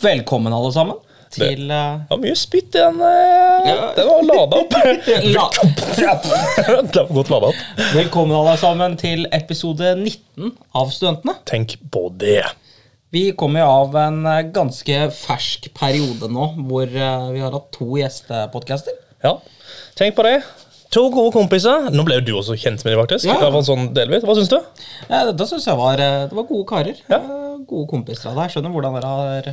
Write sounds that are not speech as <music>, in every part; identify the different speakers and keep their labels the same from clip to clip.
Speaker 1: Velkommen, alle sammen, til eh,
Speaker 2: Det var mye spytt i den. eh,
Speaker 1: Ja.
Speaker 2: Den var lada <laughs> opp.
Speaker 1: eh, la- <laughs>
Speaker 2: den var godt lada opp.
Speaker 1: Velkommen, alle sammen, til episode 19 av Studentene.
Speaker 2: Tenk på det.
Speaker 1: Vi kommer jo av en eh, ganske fersk periode nå, hvor eh, vi har hatt to gjestepodcaster.
Speaker 2: Ja, tenk på det. To gode kompiser. Nå ble jo du også kjent med dem, faktisk.
Speaker 1: Ja.
Speaker 2: I hvert fall sånn delvis. Hva syns du?
Speaker 1: Ja, dette synes jeg var, eh, det var gode karer.
Speaker 2: Ja.
Speaker 1: Eh, Gode kompiser av deg. Jeg Skjønner hvordan dere har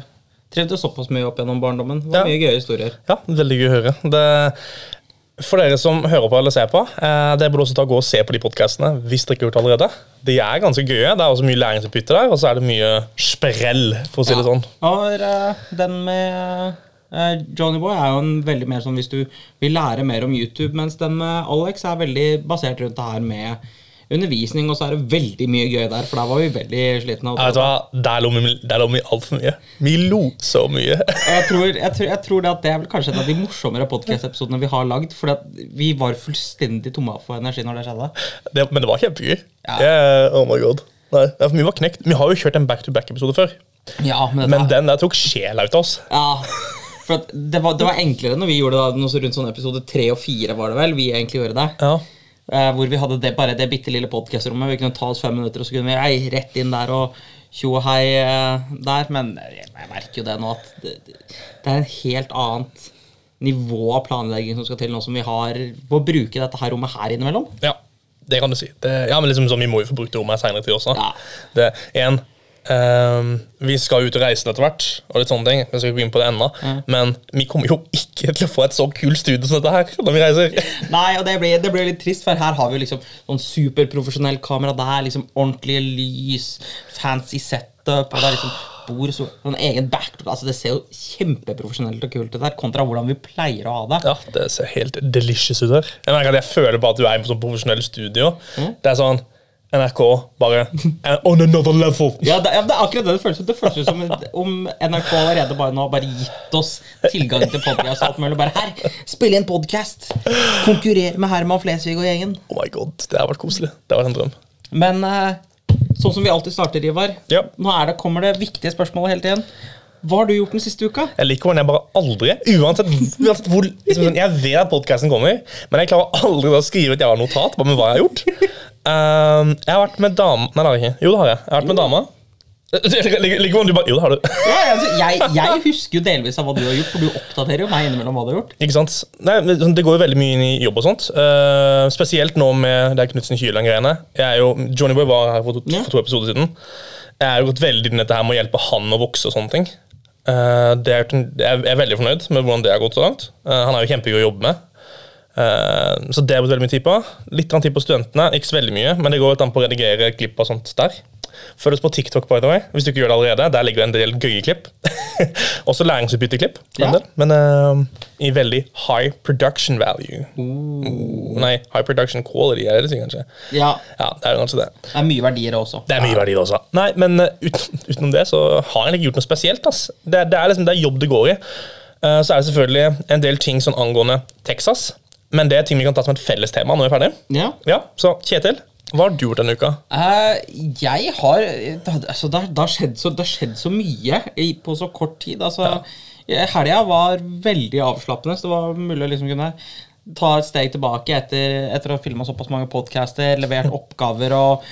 Speaker 1: trivdes såpass mye opp gjennom barndommen. Det
Speaker 2: Ja.
Speaker 1: var mye gøye historier.
Speaker 2: Ja, veldig gøy å høre. Det, for dere som hører på eller ser på, eh, det burde også ta og gå og se på de podkastene hvis dere ikke har gjort det allerede. De er ganske gøye. Det er også mye læringsutbytte der, og så er det mye sprell, for å si det sånn.
Speaker 1: Og eh, den med eh, Johnny Boy er jo en veldig mer sånn hvis du vil lære mer om YouTube, mens den med Alex er veldig basert rundt det her med undervisning, og så er det veldig mye gøy der, for der var vi veldig slitne. altså. av å
Speaker 2: Ja, Vet du hva? Der lo vi, der lo vi altfor mye. Vi lo så mye.
Speaker 1: Og Jeg tror, jeg, tror, jeg tror det at det er vel kanskje en av de morsommere podcast-episodene vi har lagd. For vi var fullstendig tomme for energi når det skjedde.
Speaker 2: Det, men det var kjempegøy.
Speaker 1: Ja.
Speaker 2: Det- oh my god. Nei, ja, for vi var knekt. Vi har jo kjørt en back-to-back-episode før,
Speaker 1: Ja, men,
Speaker 2: men den der tok sjela ut av oss.
Speaker 1: Ja, for at det, var, det var enklere når vi gjorde det da, noe så rundt sånn episode tre og fire, var det vel? Vi egentlig gjorde det.
Speaker 2: Ja.
Speaker 1: Eh, hvor vi hadde det, bare det bitte lille podkastrommet. Vi kunne ta oss fem minutter, og så kunne vi ei, rett inn der og tjo og hei eh, der. Men jeg, jeg merker jo det nå, at det, det det er en helt annet nivå av planlegging som skal til nå som vi har på å bruke dette her rommet her innimellom.
Speaker 2: ja, det kan du si. Det, ja, men liksom sånn, Vi må jo få brukt det rommet her senere tid også.
Speaker 1: Ja.
Speaker 2: Det, en, ehm, vi skal ut og reise etter hvert, og litt sånne ting. Vi skal ikke gå inn på det ennå.
Speaker 1: Mm.
Speaker 2: Men vi kommer jo ikke til å få et så kult studio som dette her når vi reiser.
Speaker 1: Nei, og det blir, det blir litt trist, for her har vi jo liksom sånn superprofesjonell kamera der, liksom ordentlige lys, fancy setup, og det er liksom bord og så- sånn egen backdrop. Altså, det ser jo kjempeprofesjonelt og kult ut der, kontra hvordan vi pleier å ha det.
Speaker 2: Ja, det ser helt delicious ut her. Jeg merker at jeg føler bare at du er i sånn profesjonell studio.
Speaker 1: Mm.
Speaker 2: Det er sånn NRK bare "And on another level.
Speaker 1: Ja, det, ja, det er akkurat det det føles ut. Det føles ut som om NRK allerede bare nå har bare gitt oss tilgang til podcast og alt mulig. Bare her, spille inn podcast! Konkurrere med Herman Flesvig og gjengen.
Speaker 2: Oh my god, Det har vært koselig. Det har vært en drøm.
Speaker 1: Men eh, sånn som vi alltid starter, Ivar,
Speaker 2: Ja.
Speaker 1: nå er det, kommer det viktige spørsmålet hele tiden. Hva har du gjort den siste uka?
Speaker 2: Jeg liker hvordan jeg bare aldri Uansett, uansett hvor liksom sånn, Jeg vet at podkasten kommer, men jeg klarer aldri å skrive et jævla notat bare med hva jeg har gjort. Ehm, jeg har vært med dama Nei, det har jeg ikke. Jo, det har jeg. Jeg har vært med dama. <laughs> Ligger ligger hvordan du bare Jo, det har du.
Speaker 1: Ja, altså, jeg, <laughs> jeg husker jo delvis av hva du har gjort, for du oppdaterer jo meg innimellom hva du har gjort.
Speaker 2: Ikke sant? Nei, men sånn, Det går jo veldig mye inn i jobb og sånt. Eh, spesielt nå med det Knutsen Kyland-greiene. Jeg er jo, Johnny Boy var her for to,
Speaker 1: Ja.
Speaker 2: for to episoder siden. Jeg har jo gått veldig inn i dette her med å hjelpe han å vokse og sånne ting. Eh, det er, jeg er veldig fornøyd med hvordan det har gått så langt. Eh, han er jo kjempegøy å jobbe med. Eh, så det har jeg brukt veldig mye tid på. Litt grann tid på studentene, ikke så veldig mye, men det går litt an på å redigere klipp og sånt der. Følg oss på TikTok, by the way, hvis du ikke gjør det allerede. Der ligger det en del gøye klipp. <laughs> Også læringsutbytteklipp. for en
Speaker 1: Ja.
Speaker 2: del. Men eh, i veldig high production value. Oh, Nei, high production quality, er det det sier kanskje.
Speaker 1: Ja,
Speaker 2: Ja, det er jo kanskje det.
Speaker 1: Det er mye verdier også.
Speaker 2: Det er mye verdi, det også. Nei, men eh, uten, utenom det så har jeg ikke gjort noe spesielt. Ass. Det, er- det er liksom det er jobb det går i. Eh, så er det selvfølgelig en del ting sånn angående Texas, men det er ting vi kan ta som et felles tema når vi er ferdig.
Speaker 1: Ja.
Speaker 2: Ja, Så Kjetil, hva har du gjort denne uka?
Speaker 1: Eh, jeg har det har- altså, det, har, det, har skjedd så, det har skjedd så mye i, på så kort tid. Altså, Helga var veldig avslappende, så det var mulig å liksom kunne ta et steg tilbake etter, etter å ha filma såpass mange podcaster, levert oppgaver og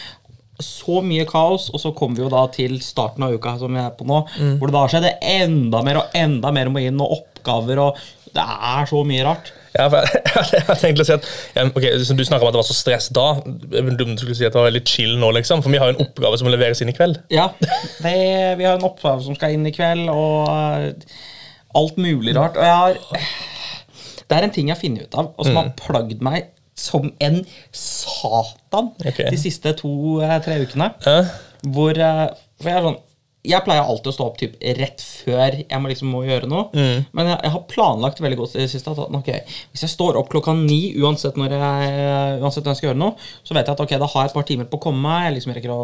Speaker 1: så mye kaos, og så kom vi jo da til starten av uka som vi er på nå, hvor det da skjedde enda mer og enda mer må inn, og oppgaver og Det er så mye rart.
Speaker 2: Ja, for jeg, <laughs> jeg har tenkt å si at ja, ok, så Du snakka om at det var så stress da. Jeg var dum til å skulle si at det var litt chill nå, liksom. For vi har jo en oppgave som må leveres inn i kveld.
Speaker 1: Ja, det, vi har en oppgave som skal inn i kveld, og eh, alt mulig rart. Og jeg har Det er en ting jeg har funnet ut av, og som har plagd meg som en satan
Speaker 2: Ok.
Speaker 1: de siste to-tre ukene.
Speaker 2: Ja.
Speaker 1: Hvor eh, For jeg er sånn jeg pleier alltid å stå opp typ, rett før jeg må, liksom, må gjøre noe. Men jeg, jeg har planlagt veldig godt i det siste. At, sånn, ok, hvis jeg står opp klokka ni uansett når jeg, eh, uansett når jeg skal gjøre noe, så vet jeg at ok, da har jeg et par timer på å komme meg. Jeg liksom rekker å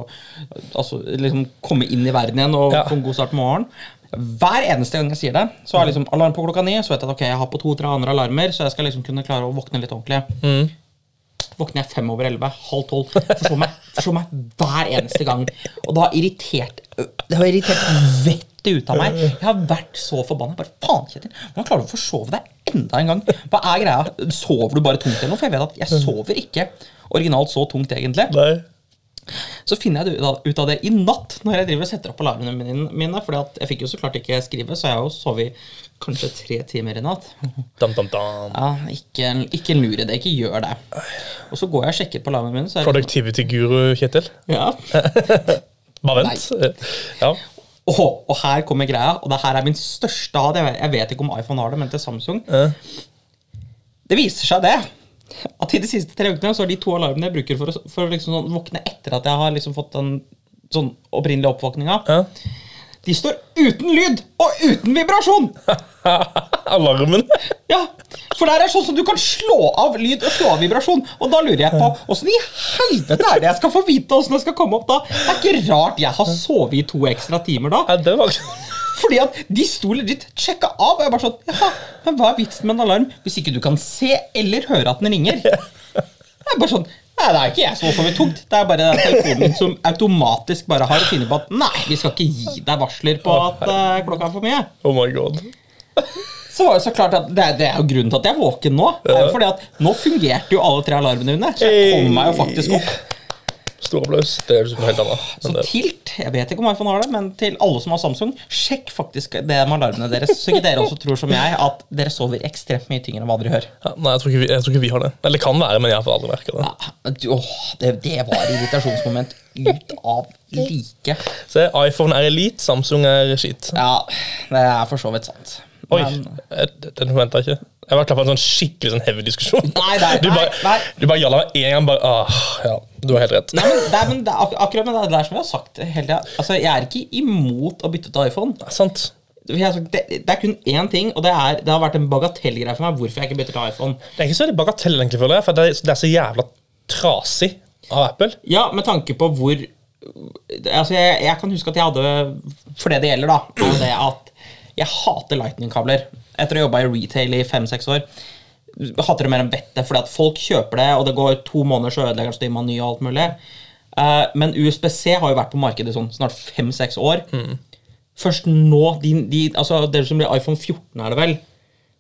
Speaker 1: altså, liksom, komme inn i verden igjen og
Speaker 2: Ja.
Speaker 1: få en god start på morgenen. Hver eneste gang jeg sier det, så har jeg liksom alarm på klokka ni. Så vet jeg at ok, jeg har på to-tre andre alarmer, så jeg skal liksom kunne klare å våkne litt ordentlig våkner jeg fem over elleve, halv tolv. Forstå meg, forstå meg hver eneste gang. Og det har irritert Det har irritert vettet det ut av meg. Jeg har vært så forbanna. Bare faen, Kjetil, hvordan klarer du å forsove deg enda en gang? Hva er greia? Sover du bare tungt eller noe? For jeg vet at jeg sover ikke originalt så tungt, egentlig.
Speaker 2: Nei.
Speaker 1: Så finner jeg det ut av- ut av det i natt, når jeg driver og setter opp alarmene mine- mine. For jeg fikk jo så klart ikke skrive, så jeg har jo sovet kanskje tre timer i natt.
Speaker 2: Dam, dam, dam.
Speaker 1: Ja, ikke, ikke lure det. Ikke gjør det. Og så går jeg og sjekker på alarmen min, så er det
Speaker 2: Productivity-guru, Kjetil.
Speaker 1: ja.
Speaker 2: Bare vent. Ja.
Speaker 1: og, og her kommer greia, og det her er min største had. Jeg vet- Jeg vet ikke om iPhone har det, men til Samsung. Det viser seg det. At i de siste tre ukene så er de to alarmene jeg bruker for å, for å liksom sånn våkne etter at jeg har liksom fått den sånn opprinnelige oppvåkninga,
Speaker 2: Ja.
Speaker 1: de står uten lyd og uten vibrasjon!
Speaker 2: Alarmen.
Speaker 1: Ja, For der er sånn som du kan slå av lyd og slå av vibrasjon. Og da lurer jeg på åssen i helvete er det jeg skal få vite åssen det skal komme opp da? Det er ikke rart jeg har sovet i to ekstra timer da.
Speaker 2: Nei, det var
Speaker 1: Fordi at de sto legit sjekka av. Og jeg bare sånn Jaha, men hva er vitsen med en alarm hvis ikke du kan se eller høre at den ringer? Jeg er bare sånn Nei, det er ikke jeg som har sovet tungt. Det er bare den telefonen min som automatisk bare har funnet på at Nei, vi skal ikke gi deg varsler på at eh, klokka er for mye.
Speaker 2: Oh my god.
Speaker 1: Så var det så klart at det er, det er jo grunnen til at jeg er våken nå. Det er jo fordi at nå fungerte jo alle tre alarmene mine. Så jeg kom meg jo faktisk opp.
Speaker 2: Stor applaus. Det er liksom noe helt annet.
Speaker 1: Så
Speaker 2: Men det,
Speaker 1: tilt, jeg vet ikke om iPhone har det, men til alle som har Samsung, sjekk faktisk det med alarmene deres, så ikke dere også tror som jeg at dere sover ekstremt mye tyngre enn hva dere gjør.
Speaker 2: ja, nei, jeg tror, ikke vi, jeg tror ikke vi har det. Eller kan være, men jeg har aldri merka det.
Speaker 1: Ja, Ah, du- åh, det, det var irritasjonsmoment ut av like.
Speaker 2: Se, iPhone er elite, Samsung er skit.
Speaker 1: Ja, det er for så vidt sant.
Speaker 2: Oi,
Speaker 1: Men-
Speaker 2: jeg- den forventa jeg ikke. Jeg var klar for en sånn skikkelig sånn heavy diskusjon.
Speaker 1: <laughs> Nei, nei,
Speaker 2: du bare,
Speaker 1: nei, nei.
Speaker 2: Du bare jalla meg en gang. bare, ah, Ja, du har helt rett.
Speaker 1: Nei, men, det er, men det er ak akkurat med det der som vi har sagt hele tida. Altså, jeg er ikke imot å bytte til iPhone.
Speaker 2: Sant.
Speaker 1: Jeg har sagt, Det, det er kun én ting, og det, er, det har vært en bagatellgreie for meg hvorfor jeg ikke bytter til iPhone.
Speaker 2: Det er ikke så veldig bagatell, egentlig, føler jeg, for det er, det er så jævla trasig av Apple.
Speaker 1: Ja, med tanke på hvor Altså, jeg, jeg kan huske at jeg hadde For det det gjelder, da, er jo det at jeg hater lightning-kabler. Etter å ha jobba i retail i fem-seks år hater det mer enn vettet, fordi at folk kjøper det, og det går to måneder, så ødelegger den, så gir man ny og alt mulig. Eh, men USBC har jo vært på markedet i sånn snart fem-seks år. Først nå de, de, altså Dere som blir iPhone 14, er det vel,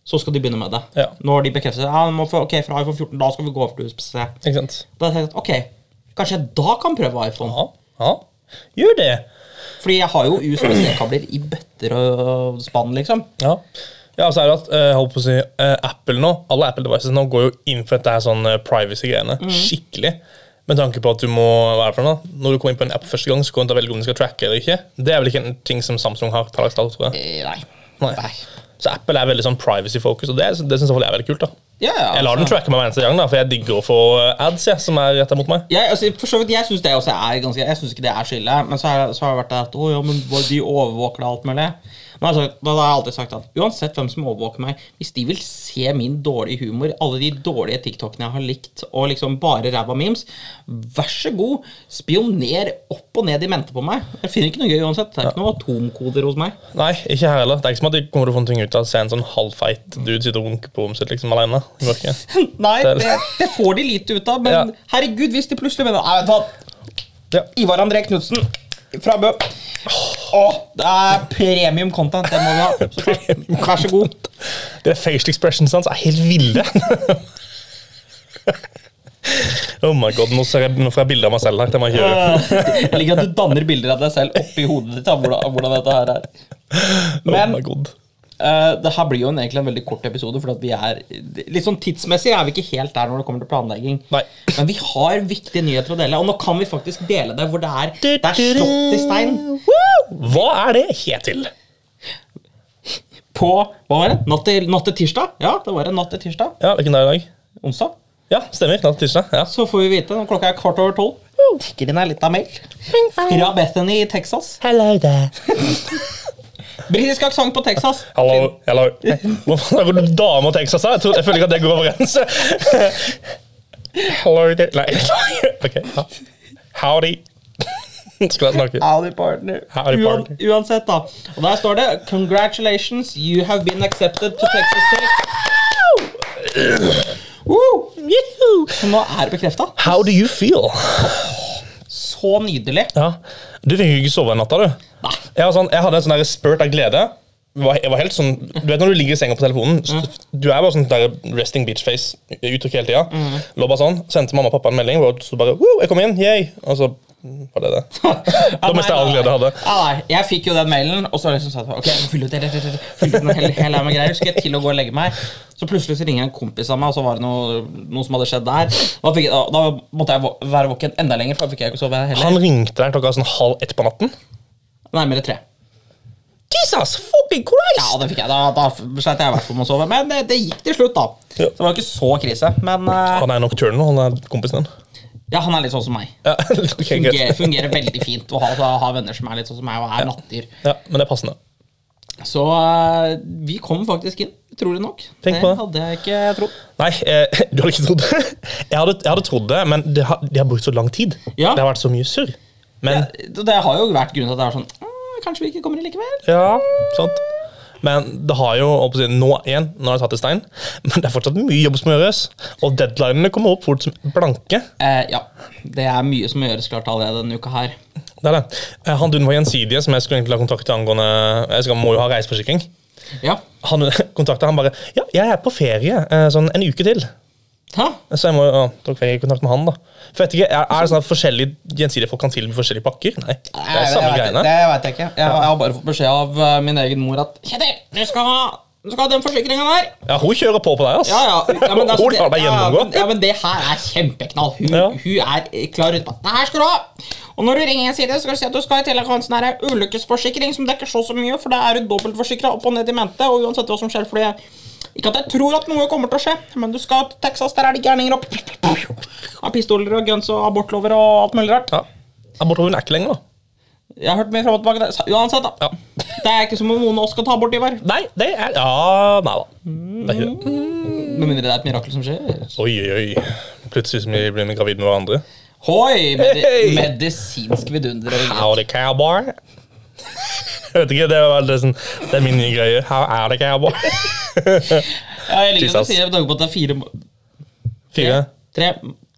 Speaker 1: så skal de begynne med det.
Speaker 2: Ja.
Speaker 1: Nå har de bekreftet ja, man må få- ok, fra iPhone 14, da skal vi gå over til USBC.
Speaker 2: Ikke sant?
Speaker 1: Da tenkte jeg at ok, kanskje jeg da kan prøve iPhone.
Speaker 2: Ja, ja. Gjør det.
Speaker 1: Fordi jeg har jo USB-kabler i bøtter og spann, liksom.
Speaker 2: Ja. Ja, så er det at, eh, jeg holdt på å si, eh, Apple nå, Alle Apple devices nå går jo inn for dette her sånn eh, privacy-greiene skikkelig. Med tanke på at du må hva er det for noe? da? Når du kommer inn på en app første gang, så kan du velge om du skal tracke eller ikke. Det er vel ikke en ting som Samsung har. per dags dato, tror jeg.
Speaker 1: Eh, Nei.
Speaker 2: Nei. Så Apple er veldig sånn privacy-fokus, og det, det syns jeg er veldig kult. da.
Speaker 1: Ja, ja, altså.
Speaker 2: Jeg lar den tracke meg hver eneste gang, da, for jeg digger å få eh, ads jeg, som er retta mot meg.
Speaker 1: Jeg, altså, for så vidt, jeg syns det også er ganske Jeg synes ikke det er skille, men så, er, så har det vært det at Å ja, men hva- de overvåker deg og alt mulig. Men altså, da har jeg alltid sagt at uansett hvem som overvåker meg, hvis de vil se min dårlige humor, alle de dårlige TikTokene jeg har likt, og liksom bare ræva memes, vær så god, spioner opp og ned i mente på meg. Jeg finner ikke noe gøy uansett. Det er ikke noen atomkoder hos meg.
Speaker 2: Nei, ikke her heller. Det er ikke som at de kommer til å få noe ut av å se en sånn halvfeit dude sitte og runke på rommet sitt liksom alene. i mørket.
Speaker 1: Nei,
Speaker 2: Det-
Speaker 1: det, det får de lite ut av, men
Speaker 2: Ja.
Speaker 1: herregud, hvis de plutselig mener Nei, vet du hva.
Speaker 2: Ja.
Speaker 1: Ivar André Knutsen fra Bø. Åh, det er premium content. Det må vi
Speaker 2: <laughs>
Speaker 1: ha. Så klart. Vær så god.
Speaker 2: Det er facial expressions hans er helt ville. oh my god, nå, ser jeg, nå får jeg bilder av meg selv her. Det må jeg ikke gjøre.
Speaker 1: <laughs> Jeg liker at du danner bilder av deg selv oppi hodet ditt av hvordan, av hvordan dette her er.
Speaker 2: oh
Speaker 1: Men
Speaker 2: my god.
Speaker 1: eh, det her blir jo en, egentlig en veldig kort episode, for at vi er litt sånn tidsmessig er vi ikke helt der når det kommer til planlegging.
Speaker 2: Nei.
Speaker 1: Men vi har viktige nyheter å dele, og nå kan vi faktisk dele det hvor det er, det er slått i stein.
Speaker 2: Woo! Hva er det Kjetil?
Speaker 1: på hva var det? Natt til, natt til tirsdag? Ja, det var en natt til tirsdag.
Speaker 2: Ja, Hvilken dag er det i dag?
Speaker 1: Onsdag.
Speaker 2: Ja, stemmer. Natt til tirsdag. Ja.
Speaker 1: Så får vi vite når klokka er kvart over tolv. Tikker inn ei lita mail fra Bethany i Texas.
Speaker 2: Hello there.
Speaker 1: Britisk aksent på Texas.
Speaker 2: Hello, hello. Hva faen er det du dame og Texas er? Jeg, tror, jeg føler ikke at det går overens. Hello there. Nei. <laughs> Ok. ja. Howdy. Skulle jeg snakke?
Speaker 1: Howdy, partner.
Speaker 2: Howdy,
Speaker 1: Uan-
Speaker 2: partner.
Speaker 1: uansett, da. Og der står det 'Congratulations, you have been accepted to Texas State'. Woo! Så nå er det bekrefta.
Speaker 2: How do you feel?
Speaker 1: Så nydelig.
Speaker 2: Ja. Du fikk jo ikke sove en natt, da, du.
Speaker 1: Nei.
Speaker 2: Jeg, var sånn, jeg hadde en sånn der spurt av glede. Jeg var, jeg var helt sånn, du vet når du ligger i senga på telefonen, s- du er bare sånn der resting bitch-face uttrykk hele tida. Lå bare sånn, sendte mamma og pappa en melding, og så bare Woo, jeg kom inn, yay! Og så var <laughs> det det. da mistet jeg all glede jeg hadde.
Speaker 1: Ja, Ah, nei, jeg fikk jo den mailen, og så var det liksom sånn at, Ok, jeg må fylle ut det, det, det, det, fylle ut den hele, hele her med greier, skal jeg til å gå og legge meg. Så plutselig så ringer en kompis av meg, og så var det noe, noe som hadde skjedd der. Da, fikk, da, da måtte jeg vå- være våken enda lenger, for da fikk jeg ikke sove heller.
Speaker 2: Han ringte deg klokka sånn halv ett på natten.
Speaker 1: Nærmere tre.
Speaker 2: Jesus fucking
Speaker 1: Ja,
Speaker 2: Christ!
Speaker 1: det fikk jeg. Da, da sleit jeg i hvert fall med å sove. Men det, det gikk til slutt, da.
Speaker 2: Ja.
Speaker 1: Så det var ikke så krise. Men eh,
Speaker 2: Han er nocturnal, han er kompisen din.
Speaker 1: ja, han er litt sånn som meg.
Speaker 2: Ja, <laughs> ok, greit. <laughs>
Speaker 1: Fungerer, fungerer veldig fint å ha, ha venner som er litt sånn som meg, og er nattdyr.
Speaker 2: Ja, men det er passende.
Speaker 1: Så eh, vi kom faktisk inn, utrolig nok.
Speaker 2: Tenk på det.
Speaker 1: hadde jeg ikke trodd.
Speaker 2: Nei, eh, <laughs> du hadde ikke trodd det. Jeg hadde, jeg hadde trodd det, men det har, de har brukt så lang tid.
Speaker 1: Ja.
Speaker 2: Det har vært så mye surr. Men ja.
Speaker 1: Det det har jo vært grunnen til at det er sånn «Mm, Kanskje vi ikke kommer inn likevel?
Speaker 2: sant. Men det har jo holdt på å si, Nå igjen, nå har jeg tatt i stein, men det er fortsatt mye jobb som må gjøres. Og deadlinene kommer opp fort som blanke.
Speaker 1: Eh, ja. Det er mye som må gjøres klart allerede denne uka her.
Speaker 2: Det er det. Eh, Han duden var gjensidige, som jeg skulle egentlig ha kontakt til angående Jeg skal, må jo ha reiseforsikring.
Speaker 1: Ja.
Speaker 2: Han <laughs> kontakta han bare Ja, jeg er på ferie eh, sånn en uke til.
Speaker 1: Ha?
Speaker 2: Så jeg må jo ja, tok ferie i kontakt med han, da. For jeg vet ikke, Er, er det sånn at forskjellige gjensidige folk kan tilby forskjellige pakker? Nei. Det
Speaker 1: Nei,
Speaker 2: er samme
Speaker 1: vet-
Speaker 2: greiene.
Speaker 1: Det vet jeg ikke. Jeg, jeg har bare fått beskjed av eh, min egen mor at Kjetil, du skal ha, du skal ha den forsikringa der.
Speaker 2: Ja, hun kjører på på deg, ass.
Speaker 1: Ja, ja. ja men, altså,
Speaker 2: hun lar deg
Speaker 1: ja,
Speaker 2: gjennomgå.
Speaker 1: men, ja, men det her er kjempeknall. Hun,
Speaker 2: Ja.
Speaker 1: hun er eh, klar ut på at det her skal du ha. Og når du ringer en side, skal du si at du skal ha til en sånn her ulykkesforsikring som dekker så og så mye, for da er du dobbeltforsikra opp og ned i mente, og uansett hva som skjer, fordi jeg ikke at jeg tror at noe kommer til å skje, men du skal til Texas, der er det gærninger og Av pistoler og guns og abortlover og alt mulig rart.
Speaker 2: Ja. Abortloven er ikke lenger, da.
Speaker 1: Jeg har hørt mye fram og tilbake. der. Så Uansett, da.
Speaker 2: Ja.
Speaker 1: Det er ikke som om noen av oss skal ta bort Ivar.
Speaker 2: Nei, det er Ja, nei da. Det er ikke det.
Speaker 1: Mm. Med mindre det er et mirakel som skjer.
Speaker 2: Oi, oi, oi. Plutselig som vi blir vi gravide med hverandre.
Speaker 1: Hoi! Medi
Speaker 2: Hey!
Speaker 1: Medisinsk vidunder.
Speaker 2: Howdy, cowboy. <laughs> Jeg vet ikke, det er, det, sånn, det er min nye greie. How are the cowboy?
Speaker 1: Ja, jeg liker at
Speaker 2: Jesus.
Speaker 1: du sier med tanke på at det er fire må-
Speaker 2: Fire.
Speaker 1: Tre,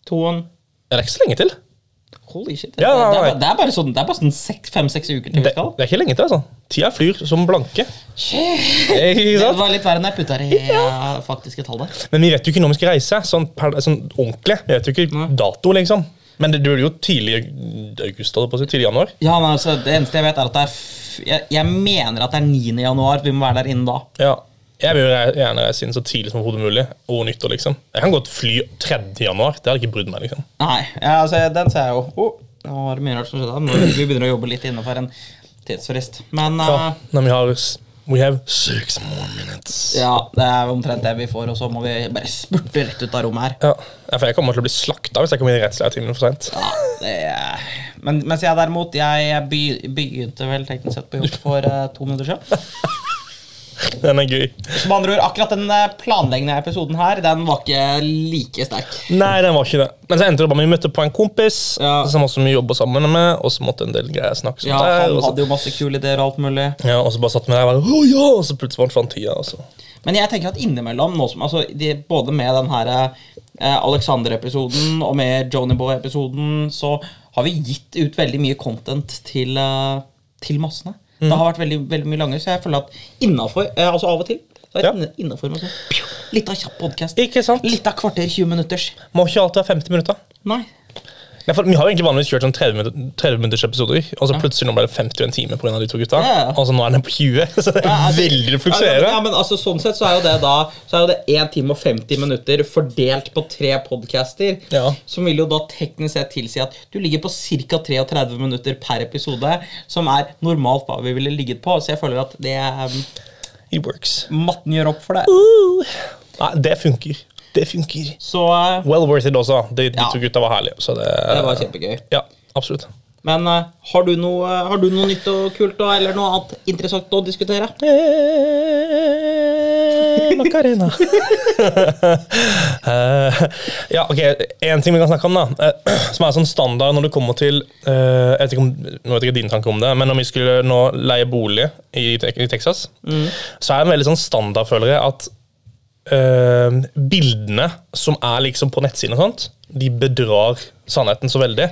Speaker 1: to en.
Speaker 2: Det er ikke så lenge til.
Speaker 1: Holy shit.
Speaker 2: Ja, ja,
Speaker 1: det, er,
Speaker 2: ja.
Speaker 1: bare- det er bare sånn, det er bare sånn seks- fem-seks uker til vi
Speaker 2: Det,
Speaker 1: skal.
Speaker 2: det er ikke lenge til, altså. Tida flyr som blanke.
Speaker 1: Shit.
Speaker 2: Ikke
Speaker 1: Det
Speaker 2: sant?
Speaker 1: var litt verre enn jeg putta det i ja, faktiske tall der.
Speaker 2: Men vi vet jo ikke når vi skal reise. Sånn, per, sånn ordentlig. Vi vet jo ikke dato, liksom. Men det, det blir jo tidlig i august, holdt jeg på å si. Tidlig i januar.
Speaker 1: Ja, men altså, det eneste jeg vet, er at det er f jeg, jeg mener at det er 9. januar. Vi må være der innen da.
Speaker 2: Ja. Jeg vil jo re- gjerne reise inn så tidlig som overhodet mulig. Over nyttår, liksom. Jeg kan godt fly 3. januar. Det hadde ikke brydd meg, liksom.
Speaker 1: Nei, ja, altså, den ser jeg jo. Oh, nå var det mye rart som skjedde. her. Nå vi begynner å jobbe litt innenfor en tidsfrist. Men
Speaker 2: Ja,
Speaker 1: eh,
Speaker 2: men vi har s- We have six more minutes.
Speaker 1: ja, det er omtrent det vi får, og så må vi bare spurte rett ut av rommet her.
Speaker 2: Ja. ja, for jeg kommer til å bli slakta hvis jeg kommer inn i rettsleiertimen for seint.
Speaker 1: Ja, det er... Men mens jeg derimot, jeg, jeg begy- begynte vel teknisk sett på jobb for eh, to minutter siden.
Speaker 2: Den er gøy.
Speaker 1: Så med andre ord, akkurat den eh, planleggende episoden her, den var ikke like sterk.
Speaker 2: Nei, den var ikke det. Men så endte det bare med vi møtte på en kompis
Speaker 1: Ja.
Speaker 2: som også vi jobba sammen med, og så måtte en del greier snakkes om
Speaker 1: Ja,
Speaker 2: der.
Speaker 1: han
Speaker 2: Og så,
Speaker 1: hadde jo masse kule ideer og alt mulig.
Speaker 2: ja, og så bare satt vi der og bare «Å, ja! Og så plutselig var han altså. fram tida, og så
Speaker 1: Men jeg tenker at innimellom, nå som, altså, de, både med den her eh, Alexander-episoden og med Johnnyboy-episoden, så har vi gitt ut veldig mye content til, eh, til massene.
Speaker 2: Mm.
Speaker 1: Det har vært veldig, veldig mye langer, så jeg føler at innafor eh, Altså av og til. Så er
Speaker 2: Ja.
Speaker 1: det innafor med sånn pju, Litt av kjapp podkast.
Speaker 2: Ikke sant?
Speaker 1: Litt av kvarter 20 minutters.
Speaker 2: Må ikke alltid være 50 minutter.
Speaker 1: Nei.
Speaker 2: Nei, for Vi har jo egentlig vanligvis kjørt sånn 30-minutters episoder, og så plutselig nå ble det 50 og en time pga. de to gutta.
Speaker 1: Ja, ja.
Speaker 2: Og så nå er den på 20, <laughs> så det er
Speaker 1: Ja, altså-
Speaker 2: veldig
Speaker 1: Ja,
Speaker 2: fluktuerende.
Speaker 1: ja, men altså, sånn sett så er jo det da Så er jo det 1 time og 50 minutter fordelt på tre podcaster,
Speaker 2: Ja.
Speaker 1: som vil jo da teknisk sett tilsi at du ligger på ca. 33 minutter per episode, som er normalt hva vi ville ligget på. Så jeg føler at det um,
Speaker 2: It works.
Speaker 1: matten gjør opp for det.
Speaker 2: Nei, det funker. Det funker.
Speaker 1: Så uh,
Speaker 2: Well worth it også. De, de
Speaker 1: Ja.
Speaker 2: to gutta var herlige. Så det,
Speaker 1: det var kjempegøy.
Speaker 2: Ja, absolutt.
Speaker 1: Men uh, har, du noe, har du noe nytt og kult og, eller noe annet interessant å diskutere?
Speaker 2: Macarena. ja, ok, En ting vi kan snakke om, da, eh, <clears throat> som er sånn standard når det kommer til eh, Jeg vet ikke om, nå vet jeg ikke din tanke om det, men om vi skulle nå leie bolig i, Tek- i Texas, så er det en veldig sånn standard, føler jeg, at eh, bildene som er liksom på nettsiden, og sånt, de bedrar sannheten så veldig.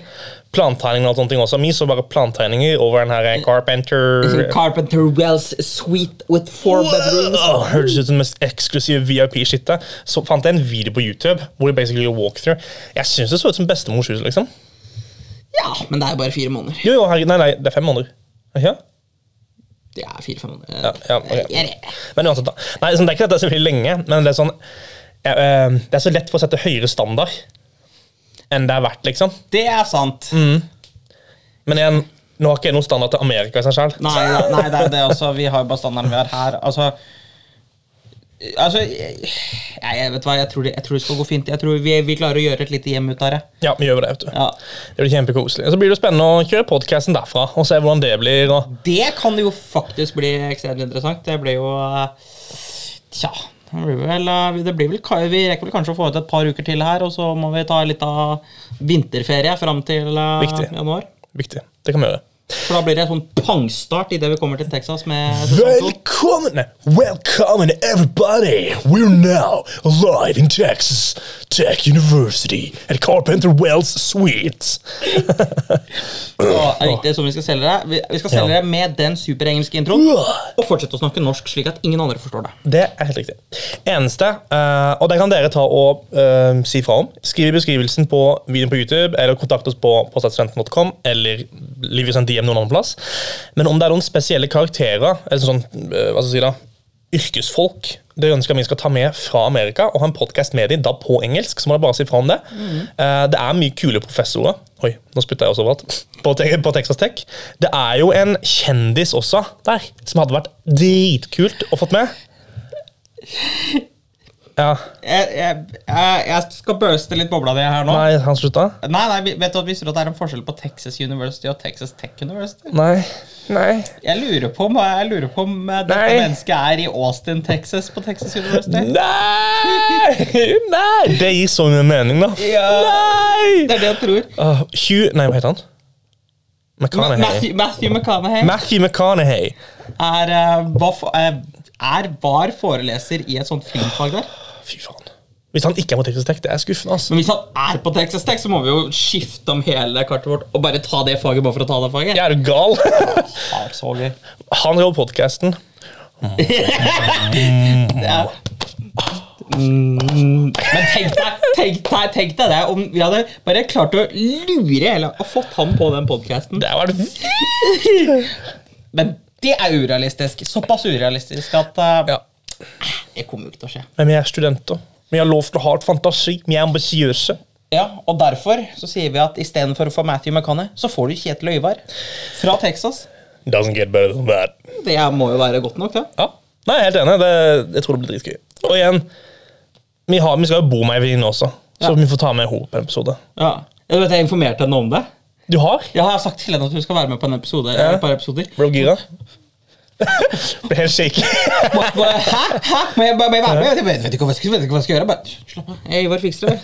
Speaker 2: Plantegninger og sånne ting også. Mi så bare plantegninger over den her Carpenter
Speaker 1: Carpenter Wells suite with four bedrooms.
Speaker 2: Wow! Hørtes ut som den mest eksklusive VIP-skittet. Så fant jeg en video på YouTube hvor de basically gjorde walkthrough. Jeg syns det så ut som bestemors hus, liksom.
Speaker 1: Ja, men det er bare fire måneder.
Speaker 2: Jo, jo, herregud, nei, nei, det er fem måneder. Er det Ikke? det?
Speaker 1: Det er fire-fem måneder.
Speaker 2: ja, ok.
Speaker 1: Jeg er-
Speaker 2: Men uansett, da. Nei, sånn, det er ikke at det er så veldig lenge, men det er sånn eh, eh, Det er så lett for å sette høyere standard enn det er verdt, liksom.
Speaker 1: Det er sant.
Speaker 2: Men igjen, nå har ikke jeg noen standard til Amerika i seg selv
Speaker 1: Nei, nei, nei, det er det også. Vi har jo bare standarden vi har her. Altså, altså jeg, jeg vet hva, jeg tror, det, jeg tror det skal gå fint. Jeg tror vi, vi klarer å gjøre et lite hjem ut av det.
Speaker 2: Ja, vi gjør det, vet du.
Speaker 1: Ja.
Speaker 2: Det blir kjempekoselig. Og Så blir det jo spennende å kjøre podcasten derfra og se hvordan det blir. og...
Speaker 1: Det kan jo faktisk bli ekstremt interessant. Det blir jo eh, Tja. Det blir vel, eh, det blir vel, ka- vi rekker vel kanskje å få ut et par uker til her, og så må vi ta litt av vinterferie fram til eh,
Speaker 2: Viktig.
Speaker 1: januar.
Speaker 2: Viktig. Det kan vi gjøre.
Speaker 1: For da blir det en sånn pangstart idet vi kommer til Texas med sesong to.
Speaker 2: Velkommen! Welcome everybody! We're now live in Texas Tech University at Carpenter Wells <laughs> Suite.
Speaker 1: Og det er viktig som vi skal selge det. Vi, vi skal selge
Speaker 2: Ja.
Speaker 1: det med den superengelske introen. Og fortsette å snakke norsk, slik at ingen andre forstår det.
Speaker 2: Det er helt riktig. Eneste, eh, og det kan dere ta og eh, si fra om. Skriv i beskrivelsen på videoen på YouTube, eller kontakt oss på poststudenten.com, eller liv i en DM noen annen plass. Men om det er noen spesielle karakterer, eller sånn, eh, hva skal jeg si da, yrkesfolk, dere ønsker vi skal ta med fra Amerika, og ha en podcast med dem, da på engelsk, så må dere bare si fra om det. Eh, det er mye kule professorer, oi, nå spytter jeg også overalt, <laughs> på, te på Texas Tech. Det er jo en kjendis også der, som hadde vært dritkult å fått med. Ja.
Speaker 1: Jeg, jeg, jeg, jeg skal børste litt bobla di her nå. Nei.
Speaker 2: Nei, han slutta?
Speaker 1: Nei, vi- vet du at Visste du at det er en forskjell på Texas University og Texas Tech University?
Speaker 2: Nei. Nei.
Speaker 1: Jeg lurer på om, jeg lurer på om eh, dette
Speaker 2: Nei.
Speaker 1: mennesket er i Austin, Texas, på Texas University.
Speaker 2: Nei! Nei! Det gir så mye mening, da.
Speaker 1: Ja. Det
Speaker 2: Nei!
Speaker 1: er det jeg tror.
Speaker 2: Ah, Hugh Nei, hva heter han? McConaughey.
Speaker 1: Matthew, Matthew McConaughey
Speaker 2: Matthew McConaughey.
Speaker 1: er, eh, var for- eh, er, var foreleser i et sånt filmfag der.
Speaker 2: Fy faen. Hvis han ikke er på Texas Tech, det er skuffende. altså. ass.
Speaker 1: Men hvis han er på Texas Tech, så må vi jo skifte om hele kartet vårt og bare ta det faget bare for å ta det faget.
Speaker 2: Jeg er du gal? <laughs>
Speaker 1: Det er så gøy.
Speaker 2: Han drev podkasten.
Speaker 1: Ja. Mm. Men tenk deg, tenk deg, tenk deg det om vi hadde bare klart å lure hele og fått han på den podkasten.
Speaker 2: Det var
Speaker 1: Men det er urealistisk. Såpass urealistisk at eh,
Speaker 2: ja.
Speaker 1: det kommer jo ikke til å skje.
Speaker 2: Men vi er studenter. Vi har lov til å ha et fantasi. Vi er ambisiøse.
Speaker 1: Ja, og Derfor så sier vi at istedenfor å få Matthew McCanny, så får du Kjetil Øyvard fra Texas.
Speaker 2: Doesn't get better than that.
Speaker 1: Det må jo være godt nok, det.
Speaker 2: Ja. Nei, jeg er helt enig. Det, jeg tror det blir dritgøy. Og igjen, vi, har, vi skal jo bo med Eivind også, så
Speaker 1: Ja.
Speaker 2: vi får ta med henne på en episode.
Speaker 1: Ja. Jeg, vet, jeg informerte henne om det.
Speaker 2: Du har?
Speaker 1: Jeg har sagt til henne at hun skal være med på en episode. eller Et par episoder.
Speaker 2: Ble du <laughs> gira? Ble helt shaky.
Speaker 1: Må- må- Hæ? Hæ? Må jeg bare bare være med? Jeg vet, vet, ikke hva jeg skal, vet ikke hva jeg skal gjøre. Bare, slapp av. Øyvar fikser det.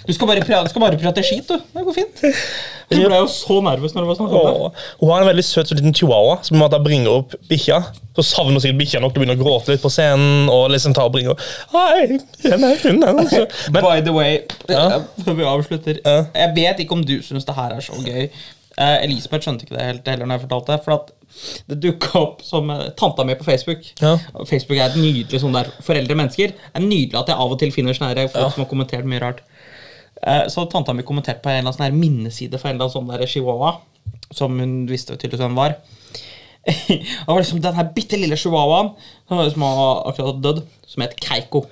Speaker 1: Du skal bare, prate, du skal bare prate skit, du. Det går fint. Du ble jo så nervøs når det var snakk om det.
Speaker 2: Og hun har en veldig søt sånn liten chihuahua som måtte bringe opp bikkja. Så savner hun sikkert bikkja nok til å begynne å gråte litt på scenen. og liksom ta og bringe opp. Hei, den er hunden hennes. Men
Speaker 1: By the way,
Speaker 2: Ja.
Speaker 1: før vi avslutter
Speaker 2: Ja.
Speaker 1: Jeg vet ikke om du syns det her er så gøy. Eh, Elisabeth skjønte ikke det helt heller når jeg fortalte det. For at det dukka opp som eh, tanta mi på Facebook.
Speaker 2: Ja.
Speaker 1: Og Facebook er et nydelig sånn der foreldre mennesker. Det er nydelig at jeg av og til finner sånne her folk som har kommentert mye rart. Eh, Så tanta mi kommenterte på en eller annen sånn her minneside for en eller annen sånn der chihuahua. Som hun visste tydeligvis hvem var. <laughs> Det var liksom den her bitte lille chihuahuaen som som har akkurat dødd, som het Keiko.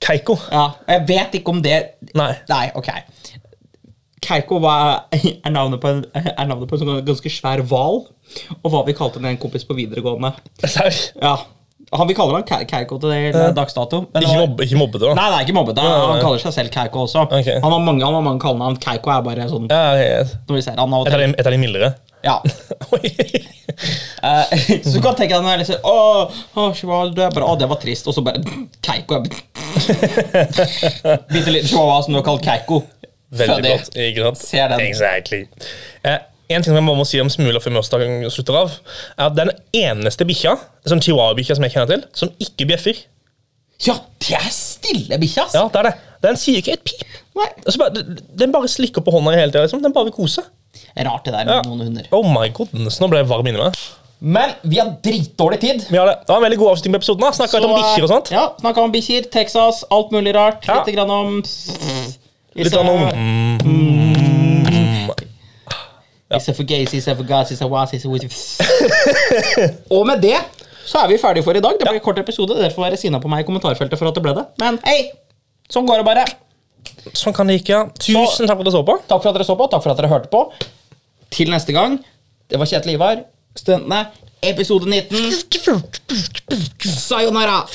Speaker 2: Keiko
Speaker 1: Ja, og jeg vet ikke om det
Speaker 2: Nei.
Speaker 1: Nei, ok Keiko var, er, navnet på en, er navnet på en sånn ganske svær hval. Og hva vi kalte den en kompis på videregående.
Speaker 2: Serr?
Speaker 1: Ja, han Vi kaller han Ke- Keiko til det i dags dato. men
Speaker 2: Ikke
Speaker 1: han-
Speaker 2: mobbe, ikke mobbe det, da?
Speaker 1: Nei, det er ikke mobbet. det er-
Speaker 2: Nei, nei.
Speaker 1: Han kaller seg selv Keiko også.
Speaker 2: Ok.
Speaker 1: Han har mange han har mange kallenavn. Keiko er bare sånn
Speaker 2: Ja, jeg-
Speaker 1: når vi ser han av og
Speaker 2: Et av
Speaker 1: til.
Speaker 2: de- et av de <laughs> mildere?
Speaker 1: Ja.
Speaker 2: Oi.
Speaker 1: Eh, så du kan tenke deg når jeg liksom Åh, åh, chihuahua, du er bare, åh, det var trist. Og så bare Keiko. jeg bare- Bitte liten chihuahua som du har kalt Keiko.
Speaker 2: Veldig
Speaker 1: Fødig.
Speaker 2: godt. Ikke sant?
Speaker 1: Ser den.
Speaker 2: Exactly. Eh, en ting som jeg bare må si om smuler før mørsdagen slutter av, er at den eneste bikkja, sånn chihuahua-bikkja som jeg kjenner til, som ikke bjeffer.
Speaker 1: Ja, det er stille bikkje, ass!
Speaker 2: Ja, det er det. Den sier ikke et pip.
Speaker 1: Nei.
Speaker 2: Altså, bare, den bare slikker på hånda hele tida. Liksom. Den bare vil kose.
Speaker 1: Rart det der med
Speaker 2: Ja.
Speaker 1: noen hunder.
Speaker 2: Oh my goodness, nå ble jeg varm inni meg.
Speaker 1: Men vi har dritdårlig tid.
Speaker 2: Men ja, det det var en veldig god avslutning på episoden. da. Snakka litt om
Speaker 1: Så, eh,
Speaker 2: bikkjer og sånt.
Speaker 1: Ja, Snakka om bikkjer, Texas, alt mulig rart.
Speaker 2: Ja.
Speaker 1: Litt grann om
Speaker 2: Litt om
Speaker 1: Is it for gays, is it for guys, is it was, is it
Speaker 2: <laughs>
Speaker 1: with- Og med det så er vi ferdige for i dag. Det ble en kort episode. Dere får være sinna på meg i kommentarfeltet for at det ble det. Men hei, sånn går det bare.
Speaker 2: Sånn kan det ikke, ja. Tusen takk for at du så på.
Speaker 1: Takk for at dere så på, takk for at dere hørte på. Til neste gang. Det var Kjetil Ivar. Studentene, episode 19. Sayonara.